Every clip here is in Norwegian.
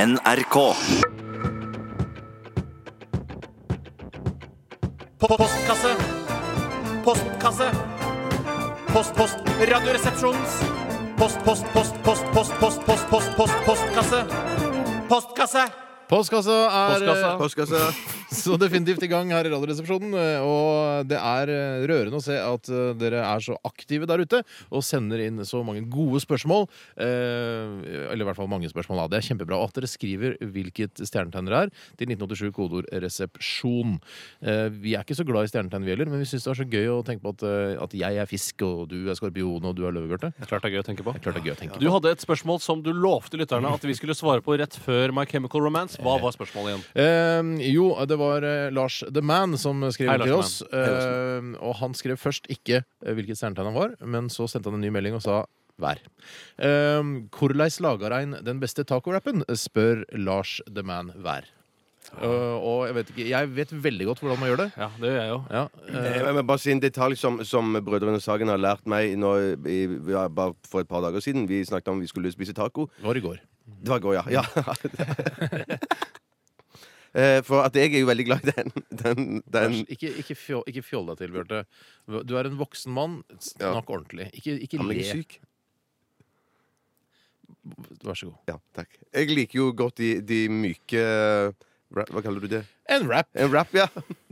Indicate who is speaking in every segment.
Speaker 1: NRK.
Speaker 2: Po- Postkasse. Postkasse. Post, post. Radioresepsjonens. Post, post, post, post, post, post, post, post, post, postkasse. Postkasse.
Speaker 3: Postkassa er
Speaker 2: Postkassa.
Speaker 4: Postkasse.
Speaker 3: eh, så definitivt i gang her i Radioresepsjonen. eh, Og det er eh, rørende å se at eh, dere er så aktive der ute og sender inn så mange gode spørsmål. eh, Eller i hvert fall mange spørsmål. da. Det er kjempebra. Og at dere skriver hvilket stjernetegn dere er til 1987 kodeord 'resepsjon'. Eh, Vi er ikke så glad i stjernetegn vi heller, men vi syns det er så gøy å tenke på at, eh, at jeg er fisk, og du er skorpion, og du er løve, Bjarte.
Speaker 5: Klart det er gøy å tenke på.
Speaker 3: Det er klart det er gøy å tenke på.
Speaker 5: Du hadde et spørsmål som du lovte lytterne at vi skulle svare på rett før My Chemical Romance. Hva var spørsmålet igjen?
Speaker 3: Eh, jo, det var eh, Lars The Man som skrev
Speaker 5: Hei,
Speaker 3: til
Speaker 5: Lars
Speaker 3: oss. Eh, og han skrev først ikke eh, hvilket stjernetegn han var, men så sendte han en ny melding og sa vær. Eh, Korleis lagar ein den beste tacorappen? spør Lars The Man hver. Eh, og jeg vet ikke Jeg vet veldig godt hvordan man gjør det.
Speaker 5: Ja, det gjør jeg jo.
Speaker 3: Ja, eh,
Speaker 4: Eh, Men bare si en detalj som, som Brødrene Sagen har lært meg nå, i, ja, bare for et par dager siden. Vi snakket om vi skulle spise taco.
Speaker 3: det var i går.
Speaker 4: Det var i går, ja. ja. Eh, For at jeg er jo veldig glad i den, den, den
Speaker 3: Lars, ikke, ikke, fjol, ikke fjoll deg til, Bjarte. Du er en voksen mann. Snakk ordentlig. Ikke, ikke
Speaker 4: Han er
Speaker 3: le.
Speaker 4: ikke syk.
Speaker 3: Vær så god.
Speaker 4: Ja, takk. Jeg liker jo godt de, de myke rap, Hva kaller du det?
Speaker 3: En rap.
Speaker 4: En rap, ja.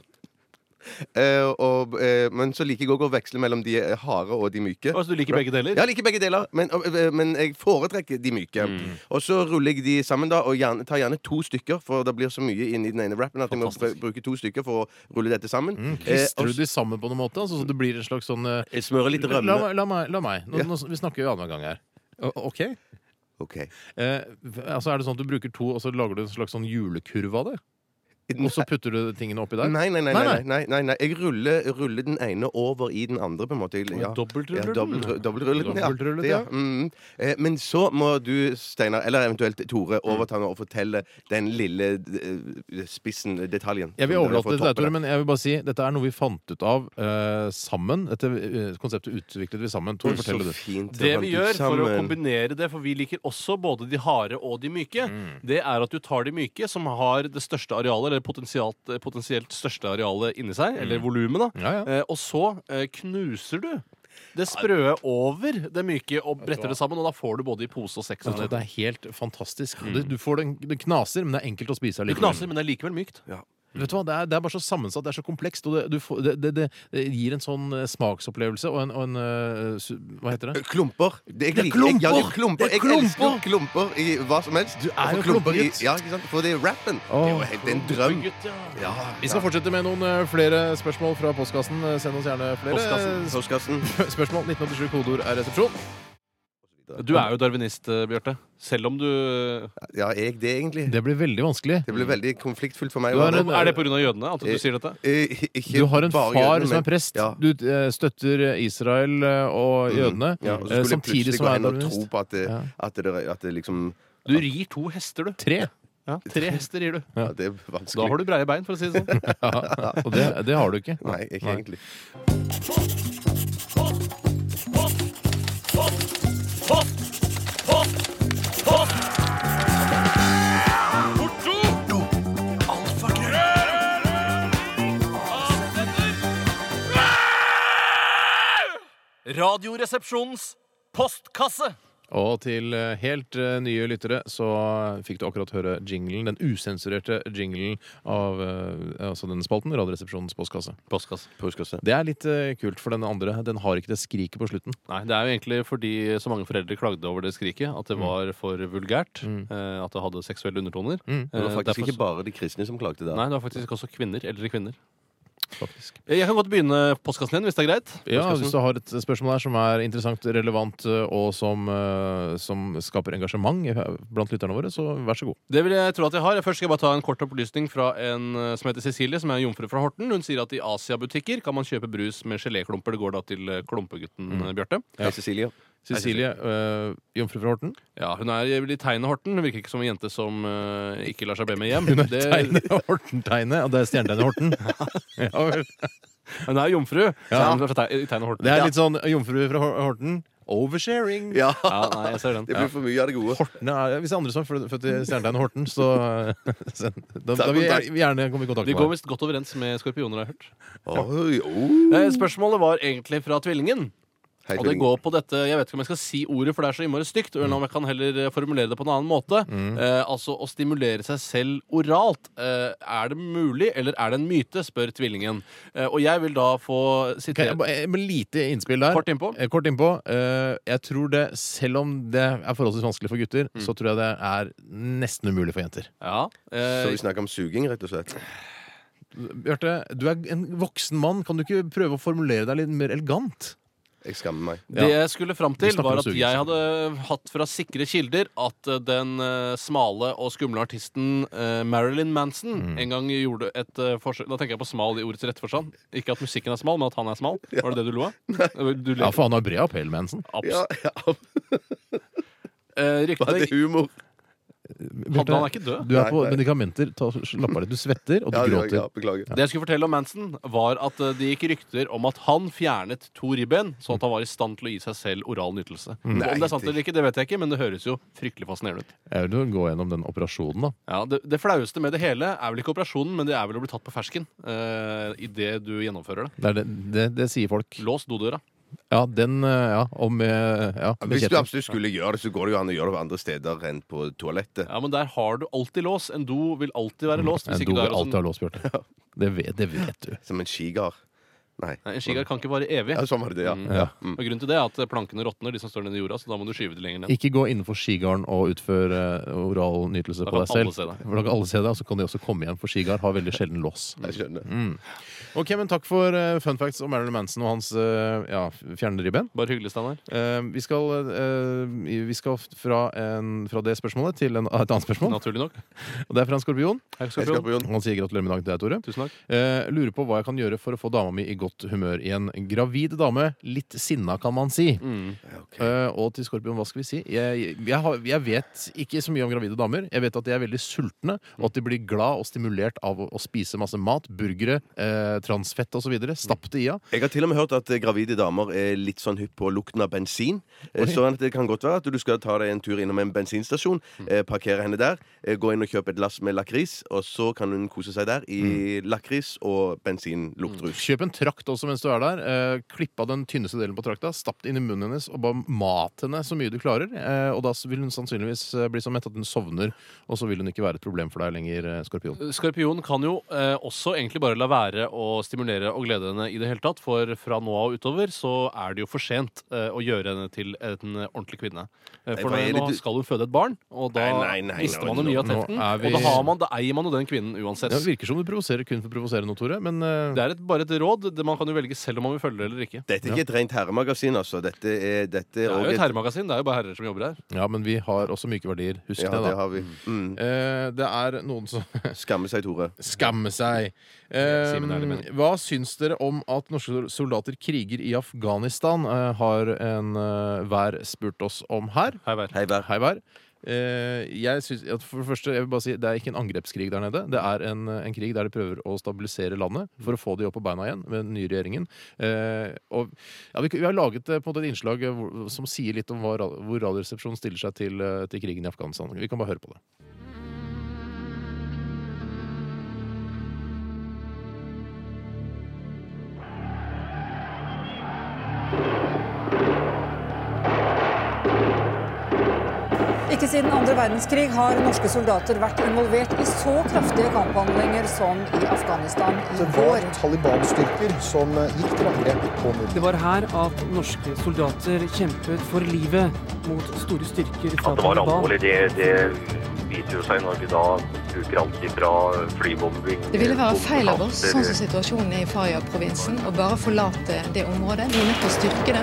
Speaker 4: Eh, og, eh, men så liker jeg òg å veksle mellom de harde og de myke.
Speaker 5: Altså, du liker begge deler?
Speaker 4: Ja, jeg liker begge deler, men, eh, men jeg foretrekker de myke. Og så ruller jeg de sammen, da, og gjerne, tar gjerne to stykker, for det blir så mye inni den ene rappen at jeg må br-
Speaker 5: Fantastisk.
Speaker 4: bruke to stykker for å rulle dette sammen. Eh,
Speaker 3: Mm, Klistrer
Speaker 4: og
Speaker 3: du de sammen på noen måte? Altså, så det blir en slags sånn eh,
Speaker 4: s- jeg smører litt
Speaker 3: La,
Speaker 4: rømme.
Speaker 3: la meg. La meg. Nå,
Speaker 4: Ja.
Speaker 3: nå, vi snakker jo annenhver gang her. OK?
Speaker 4: Ok.
Speaker 3: Eh, altså Er det sånn at du bruker to, og så lager du en slags sånn julekurv av det? Og så putter du tingene oppi der?
Speaker 4: Nei, nei, nei.
Speaker 3: Nei,
Speaker 4: nei, nei, nei, nei. Jeg ruller, ruller den ene over i den andre, på en måte. Jeg- Ja.
Speaker 5: Dobbeltruller
Speaker 4: Ja, dobbelt,
Speaker 5: den?
Speaker 4: dobbeltrullet, den, ja.
Speaker 3: Dobbeltrullet,
Speaker 4: Det,
Speaker 3: ja.
Speaker 4: ja. Mm. Eh, Men så må du, Steinar, eller eventuelt Tore, overta nå og fortelle den lille eh, spissen, detaljen.
Speaker 3: Jeg vil
Speaker 4: Som
Speaker 3: overlate
Speaker 4: dere får
Speaker 3: det til deg,
Speaker 4: toppe
Speaker 3: Tore,
Speaker 4: det.
Speaker 3: men jeg vil bare si dette er noe vi fant ut av eh, sammen. Dette eh, konseptet utviklet vi sammen. Tore,
Speaker 4: Mm, Så
Speaker 3: fortell det, du.
Speaker 4: fint.
Speaker 5: Det
Speaker 4: fant
Speaker 5: vi
Speaker 4: ut
Speaker 5: gjør for å
Speaker 4: sammen.
Speaker 5: kombinere det, for vi liker også både de harde og de myke, det er at du tar de myke, som har det største arealet, eller potensielt, potensielt største arealet inni seg, eller volumet, da.
Speaker 3: Ja, ja.
Speaker 5: Eh, og så eh, knuser du det sprøe over det myke og bretter det sammen, og da får du både i pose og sekk.
Speaker 3: Vet du hva,
Speaker 5: Du
Speaker 3: Det er helt fantastisk.
Speaker 4: Mm.
Speaker 3: Det, du får den, det knaser, men det er enkelt å spise allikevel.
Speaker 5: knaser, men det er likevel mykt.
Speaker 3: Vet du hva, det er, det er bare så sammensatt, det er så komplekst, og det, du får, det, det, det, det gir en sånn eh, smaksopplevelse og en, og en eh, su- Hva heter det?
Speaker 4: Klumper. Det, jeg,
Speaker 3: Det er
Speaker 4: liker- jeg- ja, det er
Speaker 3: klumper! Det er
Speaker 4: klumper. Jeg elsker jo klumper i hva som helst. Du
Speaker 3: er jo klumpegutt.
Speaker 4: Ja, ikke sant? For det er rappen. Det er
Speaker 3: Åh.
Speaker 4: jo helt en drøm.
Speaker 5: Gutt, ja.
Speaker 4: Ja,
Speaker 3: Vi skal
Speaker 4: ja.
Speaker 3: fortsette med noen eh, flere spørsmål fra postkassen. Eh, Send oss gjerne flere eh,
Speaker 5: Postkassen.
Speaker 4: Postkassen.
Speaker 3: sp- spørsmål. 1987 kodeord er resepsjon.
Speaker 5: Du er jo darwinist, eh, Bjarte. Selv om du
Speaker 4: Ja, er jeg det, egentlig?
Speaker 3: Det blir veldig vanskelig.
Speaker 4: Det ble veldig konfliktfullt for meg.
Speaker 3: Du er
Speaker 4: også.
Speaker 3: en-
Speaker 5: Er det pga. jødene at du
Speaker 4: Eh,
Speaker 5: sier dette?
Speaker 4: Eh, ikke
Speaker 3: Du har en
Speaker 4: bare
Speaker 3: far som
Speaker 4: jødene, men-
Speaker 3: er prest.
Speaker 4: Ja. Mm.
Speaker 3: Du eh, støtter eh, Israel eh, og jødene.
Speaker 4: Ja, og så
Speaker 3: eh,
Speaker 4: skulle jeg
Speaker 3: Samtidig
Speaker 4: plutselig
Speaker 3: som
Speaker 4: gå
Speaker 3: er
Speaker 4: hen og tro
Speaker 3: darwinist.
Speaker 4: på at det,
Speaker 3: Ja.
Speaker 4: at det, at det liksom
Speaker 5: Du rir to hester, du.
Speaker 3: Tre.
Speaker 5: Ja, tre hester rir du.
Speaker 4: at det er vanskelig.
Speaker 5: Da har du breie bein, for å si det sånn.
Speaker 3: Ja, og det, det har du ikke.
Speaker 4: Nei, ikke egentlig.
Speaker 2: Radioresepsjonens postkasse.
Speaker 3: Og til eh, helt eh, nye lyttere så fikk du akkurat høre jinglen, den usensurerte jinglen av eh, altså denne spalten, Radioresepsjonens postkasse.
Speaker 5: Postkasse.
Speaker 4: Postkasse.
Speaker 3: Det er litt eh, kult, for den andre den har ikke det skriket på slutten.
Speaker 5: Nei, det er jo egentlig fordi så mange foreldre klagde over det skriket. At det var for vulgært. eh, At det hadde seksuelle undertoner.
Speaker 4: Det
Speaker 5: Eh,
Speaker 4: var faktisk
Speaker 5: derfor-
Speaker 4: ikke bare de kristne som klagde der.
Speaker 5: Nei, det var faktisk også kvinner. Eldre kvinner. Eh,
Speaker 3: faktisk.
Speaker 5: Jeg kan godt begynne postkassen igjen, hvis det er greit.
Speaker 3: Ja, Hvis du har et spørsmål her som er interessant, relevant eh, og som, eh, som skaper engasjement eh, blant lytterne våre, så vær så god.
Speaker 5: Det vil jeg tro at jeg har. Først skal jeg bare ta en kort opplysning fra en eh, som heter Cecilie, som er en jomfru fra Horten. Hun sier at i Asia-butikker kan man kjøpe brus med geléklumper. Det går da til eh, klumpegutten eh,
Speaker 3: Mm.
Speaker 5: Bjarte.
Speaker 4: Hei, Cecilie.
Speaker 3: Cecilie, eh, jomfru fra Horten.
Speaker 5: Ja, hun er vel i tegnet Horten. Hun virker ikke som en jente som eh, ikke lar seg be med hjem.
Speaker 3: Hun er
Speaker 5: Det-
Speaker 3: tegnet Horten-tegnet. Ja, det er stjernetegnet Horten. Ja, vel.
Speaker 5: Hun er jomfru. så
Speaker 3: Ja.
Speaker 5: hun er fra te- i tegnet Horten.
Speaker 3: det er litt sånn eh, jomfru fra Hor- Horten.
Speaker 5: Oversharing.
Speaker 4: Ja.
Speaker 5: nei, jeg ser den.
Speaker 4: Det blir for mye av det gode.
Speaker 3: Nei, hvis det er andre som er fø- født i stjernetegnet Horten, så eh, send- da, da
Speaker 4: Ta
Speaker 3: vil
Speaker 4: kontakt.
Speaker 3: jeg gjerne komme i kontakt
Speaker 5: De
Speaker 3: med
Speaker 5: går
Speaker 3: deg.
Speaker 5: visst godt overens med skorpioner, har jeg hørt.
Speaker 4: Oi, oh.
Speaker 3: Mm.
Speaker 5: Eh, Spørsmålet var egentlig fra tvillingen.
Speaker 4: Hei,
Speaker 5: Og det
Speaker 4: Tvilling.
Speaker 5: går på dette Jeg vet ikke om jeg skal si ordet, for det er så innmari stygt. Eller om jeg kan heller eh, formulere det på en annen måte.
Speaker 3: Mm.
Speaker 5: Eh, altså å stimulere seg selv oralt. Eh, er det mulig, eller er det en myte? spør tvillingen. Eh, og jeg vil da få
Speaker 3: Kan
Speaker 5: sitere
Speaker 3: jeg bare- Med lite innspill der.
Speaker 5: kort innpå.
Speaker 3: Eh, Kort innpå. eh, Jeg tror det, selv om det er forholdsvis vanskelig for gutter, så tror jeg det er nesten umulig for jenter.
Speaker 5: Ja.
Speaker 4: Så
Speaker 5: Eh,
Speaker 4: vi snakker om suging, rett og slett.
Speaker 3: Bjarte, du er en voksen mann. Kan du ikke prøve å formulere deg litt mer elegant?
Speaker 4: Jeg skammer meg.
Speaker 5: Det jeg skulle fram
Speaker 3: Vi
Speaker 5: til,
Speaker 3: snakker
Speaker 5: var
Speaker 3: om
Speaker 5: at
Speaker 3: suging,
Speaker 5: jeg
Speaker 3: så.
Speaker 5: hadde hatt fra sikre kilder at eh, den eh, smale og skumle artisten eh, Marilyn Manson
Speaker 3: Mm.
Speaker 5: en gang gjorde et eh, forsøk Da tenker jeg på smal i ordets rette forstand. Ikke at musikken er smal, men at han er smal. Var det det du lo av? Du ler-
Speaker 3: Ja, for han har bred appell, Manson.
Speaker 5: Abs-
Speaker 4: Ja, ja,
Speaker 5: Eh,
Speaker 4: Var det
Speaker 5: Ryktet
Speaker 4: humor?
Speaker 5: Han han er ikke død.
Speaker 3: Du er
Speaker 4: Nei,
Speaker 3: på
Speaker 4: nei.
Speaker 3: medikamenter. Ta, slapp av litt. Du svetter, og du
Speaker 4: Ja, det var-
Speaker 3: gråter.
Speaker 4: ja, beklager.
Speaker 5: Det jeg skulle fortelle om Manson, var at eh, det gikk rykter om at han fjernet to ribben, sånn at han var i stand til å gi seg selv oral nytelse.
Speaker 4: Nei,
Speaker 5: om det er sant eller ikke, det vet jeg ikke, men det høres jo fryktelig fascinerende ut.
Speaker 3: Jeg vil jo gå gjennom den operasjonen, da.
Speaker 5: Ja, det, det flaueste med det hele er vel ikke operasjonen, men det er vel å bli tatt på fersken uh, idet du gjennomfører det.
Speaker 3: Det, er det, det, det sier folk.
Speaker 5: Lås dodøra.
Speaker 3: Ja, den eh, Ja, om eh, Ja, med
Speaker 4: Hvis du
Speaker 3: kjetting.
Speaker 4: absolutt skulle gjøre det, så går det jo an å gjøre det andre steder enn på toalettet.
Speaker 5: Ja, men der har du alltid lås. En do vil alltid være låst. Hvis
Speaker 3: En
Speaker 5: ikke
Speaker 3: do vil
Speaker 5: du er sånn- hos
Speaker 3: alltid ha
Speaker 5: en,
Speaker 3: lås, Bjarte. Det, vet- det vet du.
Speaker 4: Som en skigard. Nei.
Speaker 5: Nei, en skigar kan ikke vare evig.
Speaker 4: Ja, sånn var det det, ja.
Speaker 5: Mm.
Speaker 4: ja.
Speaker 5: Og Grunnen til det er at plankene råtner, de som står nede i jorda, så da må du skyve de lenger ned.
Speaker 3: Ikke gå innenfor skigarden og utfør eh, oral nytelse
Speaker 5: Da
Speaker 3: på
Speaker 5: kan
Speaker 3: deg selv.
Speaker 5: alle se deg.
Speaker 3: For da kan alle se deg, og så kan de også komme igjen, for skigard har veldig sjelden lås.
Speaker 4: Jeg skjønner.
Speaker 3: Ok, men Takk for eh, fun facts om Marilyn Manson og hans eh, ja, fjernere ribben.
Speaker 5: Bare hyggelig, Steinar.
Speaker 3: Eh, vi skal, eh, i- vi skal fra, en, fra det spørsmålet til en, et annet spørsmål.
Speaker 5: Naturlig nok.
Speaker 3: Og Det er fra en skorpion.
Speaker 5: Her
Speaker 4: Jeg
Speaker 5: skal
Speaker 4: skal
Speaker 5: vi
Speaker 4: på Jon.
Speaker 3: Han sier gratulerer med dagen til deg, Tore.
Speaker 5: Tusen takk.
Speaker 3: Eh, lurer på hva jeg kan gjøre for å få dama mi i godt humør igjen. Gravid dame. Litt sinna, kan man si.
Speaker 4: Ja, ok.
Speaker 3: Eh, og til Skorpion, hva skal vi si? Jeg, jeg, har, jeg vet ikke så mye om gravide damer. Jeg vet at de er veldig sultne, og at de blir glad og stimulert av å, å spise masse mat. Burgere, eh, transfett osv. Stapp det i henne.
Speaker 4: Jeg har til og med hørt at eh, gravide damer er litt sånn hypp på lukten av bensin. Eh, Sånn at det kan godt være at du skal ta deg en tur innom en bensinstasjon, eh, parkere henne der, eh, gå inn og kjøpe et lass med lakris, og så kan hun kose seg der i lakris og bensinluktrus.
Speaker 3: Kjøp en trakt også mens du er der. Eh, klipp av den tynneste delen på trakta, stapp det inn i munnen hennes og bare mat henne så mye du klarer. Eh, og da s- vil hun sannsynligvis eh, bli så mett at hun sovner, og så vil hun ikke være et problem for deg lenger, eh, Skorpion.
Speaker 5: Skorpion kan jo eh, også egentlig bare la være å stimulere og glede henne i det hele tatt, for fra nå av og utover så er det jo for sent eh, å gjøre henne til en ordentlig kvinne. Eh, for
Speaker 4: hva er det
Speaker 5: nå
Speaker 4: du-
Speaker 5: skal hun føde et barn, og da
Speaker 4: Nei, nei, nei,
Speaker 5: mister man
Speaker 4: nå-
Speaker 5: jo mye av
Speaker 3: nå
Speaker 5: teften.
Speaker 3: er vi-
Speaker 5: Og da, har man, da eier man jo den kvinnen uansett.
Speaker 3: Det virker som du provoserer kun for å provosere noe, Tore, men eh,
Speaker 5: Det er et, bare et råd. Det man kan jo velge selv om man vil følge det eller ikke.
Speaker 4: Dette er ikke et rent herremagasin, altså. Dette er, dette
Speaker 5: Det
Speaker 4: er,
Speaker 5: er
Speaker 4: også
Speaker 5: jo et herremagasin. Det er jo bare herrer som jobber her.
Speaker 3: ja, men vi har også myke verdier. Husk
Speaker 4: Ja,
Speaker 3: det, da.
Speaker 4: det har vi. Mm.
Speaker 3: Eh, det er noen som
Speaker 4: Skamme seg, Tore.
Speaker 3: Skamme seg.
Speaker 5: sier min ærlige mening.
Speaker 3: Eh, hva syns dere om at norske soldater kriger i Afghanistan, eh, har en eh, hver spurt oss om her.
Speaker 5: Hei, vær.
Speaker 4: Hei, vær.
Speaker 3: Hei, hver. Eh, jeg synes, at for det første, jeg vil bare si Det er ikke en angrepskrig der nede. Det er en, en krig der de prøver å stabilisere landet for å få de opp på beina igjen med den nye regjeringen. Eh, og, ja, vi, vi har laget eh, på en måte et innslag eh, hvor, som sier litt om hva, ra- hvor Radioresepsjonen stiller seg til, eh, til krigen i Afghanistan. Vi kan bare høre på det.
Speaker 1: Ikke siden andre verdenskrig har norske soldater vært involvert i så kraftige kamphandlinger som i Afghanistan i
Speaker 6: Det var
Speaker 1: vår.
Speaker 6: Taliban-styrker som gikk til angrep på
Speaker 7: Det var her at norske soldater kjempet for livet mot store styrker fra
Speaker 8: At det var
Speaker 7: Taliban.
Speaker 8: alvorlig, det, det biter jo seg når vi da bruker alt ifra flybombing
Speaker 9: Det ville være feil av oss, sånn
Speaker 8: bombekanter,
Speaker 9: som situasjonen er i Faryab-provinsen, å bare forlate det området. Vi er nødt til å styrke det.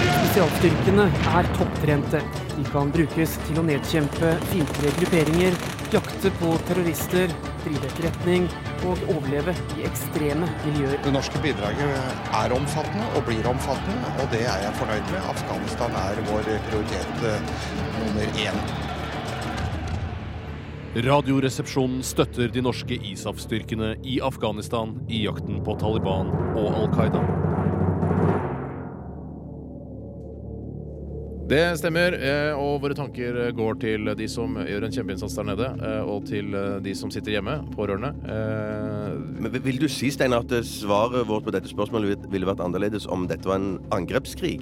Speaker 7: Spesialstyrkene er topptrente. De kan brukes til å nedkjempe fiendtlige grupperinger, jakte på terrorister, drive etterretning og overleve i ekstreme miljøer.
Speaker 6: Det norske bidraget er omfattende og blir omfattende, og det er jeg fornøyd med. Afghanistan er vår prioritet eh, nummer én.
Speaker 5: Radioresepsjonen støtter de norske ISAF-styrkene i Afghanistan i jakten på Taliban og Al Qaida.
Speaker 3: Det stemmer, eh, og våre tanker går til de som gjør en kjempeinnsats der nede, eh, og til eh, de som sitter hjemme, pårørende. Eh,
Speaker 4: Men vil du si, Steinar, at eh, svaret vårt på dette spørsmålet vil- ville vært annerledes om dette var en angrepskrig?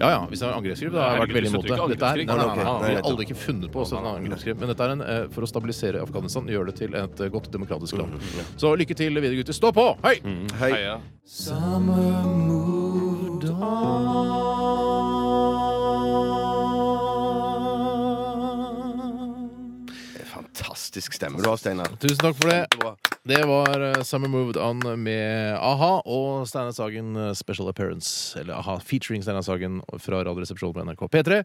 Speaker 3: Ja ja, hvis det er angrepskrig, da har jeg vært
Speaker 5: Herregud,
Speaker 3: veldig
Speaker 5: vi
Speaker 3: imot det.
Speaker 5: støtter ikke
Speaker 3: Dette er,
Speaker 5: angrepskrig.
Speaker 3: nei, nei, nei,
Speaker 4: Nei,
Speaker 3: nei,
Speaker 4: nei,
Speaker 3: vi
Speaker 4: nei.
Speaker 3: har aldri ikke funnet på å sende en angrepskrig, men dette er en, eh, for å stabilisere Afghanistan, gjøre det til et eh, godt demokratisk land.
Speaker 4: Mm.
Speaker 3: Så lykke til videre, gutter. Stå på! Hei!
Speaker 4: Hei.
Speaker 5: Heia. Ah.
Speaker 4: Fantastisk stemme du har, Steinar.
Speaker 3: Tusen takk for det.
Speaker 4: Bra.
Speaker 3: Det var eh, Summer Moved On med A-ha og Steinar Sagen eh, Special Appearance. Eller A-ha featuring Steinar Sagen fra Radioresepsjonen på NRK P3.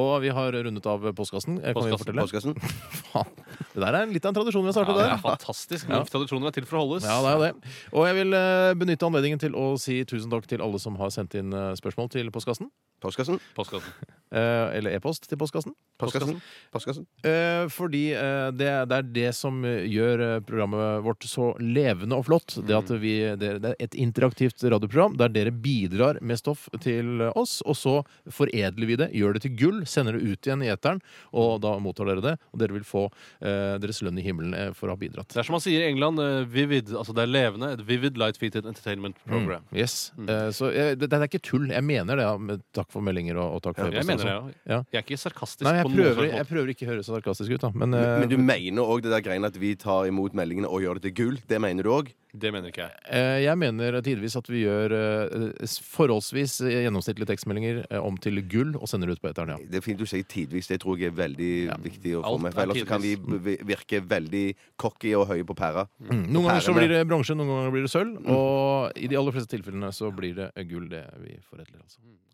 Speaker 3: Og vi har rundet av postkassen. eh, Kan vi
Speaker 5: Postkassen,
Speaker 3: fortelle?
Speaker 4: Postkassen?
Speaker 3: Faen. Det der er litt av en tradisjon vi har
Speaker 5: Ja,
Speaker 3: startet
Speaker 5: det
Speaker 3: der.
Speaker 5: er fantastisk.
Speaker 3: Ja.
Speaker 5: Når Tradisjoner er til for å holdes.
Speaker 3: Ja, det er jo det. Og jeg vil eh, benytte anledningen til å si tusen takk til alle som har sendt inn eh, spørsmål til postkassen.
Speaker 4: Postkassen?
Speaker 5: Postkassen.
Speaker 3: Eh, Eller e-post til postkassen.
Speaker 4: Postkassen? Postkassen?
Speaker 3: Eh, fordi eh, det, det er det som gjør eh, programmet vårt så levende og flott. Det
Speaker 5: Mm.
Speaker 3: at vi, det, det er et interaktivt radioprogram der dere bidrar med stoff til oss, og så foredler vi det, gjør det til gull, sender det ut igjen i eteren,
Speaker 5: Mm.
Speaker 3: og da mottar dere det. Og dere vil få eh, deres lønn i himmelen eh, for å ha bidratt.
Speaker 5: Det er som man sier i England, eh, vivid. Altså det er levende. Et vivid light feated entertainment program.
Speaker 3: Yes.
Speaker 5: Mm.
Speaker 3: Eh, så eh, det, det er ikke tull. Jeg mener det. ja, men Takk for meldinger og, og takk for
Speaker 5: Jeg
Speaker 3: e-post
Speaker 5: mener det,
Speaker 3: og sånn.
Speaker 5: ja.
Speaker 3: Ja.
Speaker 5: Jeg er ikke sarkastisk.
Speaker 3: Nei, jeg
Speaker 5: på noen
Speaker 3: prøver,
Speaker 5: slags måte.
Speaker 3: jeg prøver ikke å høre så sarkastisk ut, da. Men, eh,
Speaker 4: Men du mener òg det der greiene at vi tar imot meldingene og gjør det til gull? Det mener du òg?
Speaker 5: Det mener ikke jeg.
Speaker 3: Eh, Jeg mener tidvis at vi gjør eh, s- forholdsvis eh, gjennomsnittlige tekstmeldinger eh, om til gull og sender det ut på eteren, ja.
Speaker 4: Det er fint du sier tidvis. Det tror jeg er veldig viktig å få
Speaker 5: Alt
Speaker 4: med.
Speaker 5: er
Speaker 4: For ellers så kan vi
Speaker 5: tidvis.
Speaker 4: vi- virke veldig cocky og høye på pæra.
Speaker 3: Noen ganger så
Speaker 4: Pærene.
Speaker 3: blir det bronse, noen ganger blir det sølv, og i de aller fleste tilfellene så blir det gull, det vi foredler, altså.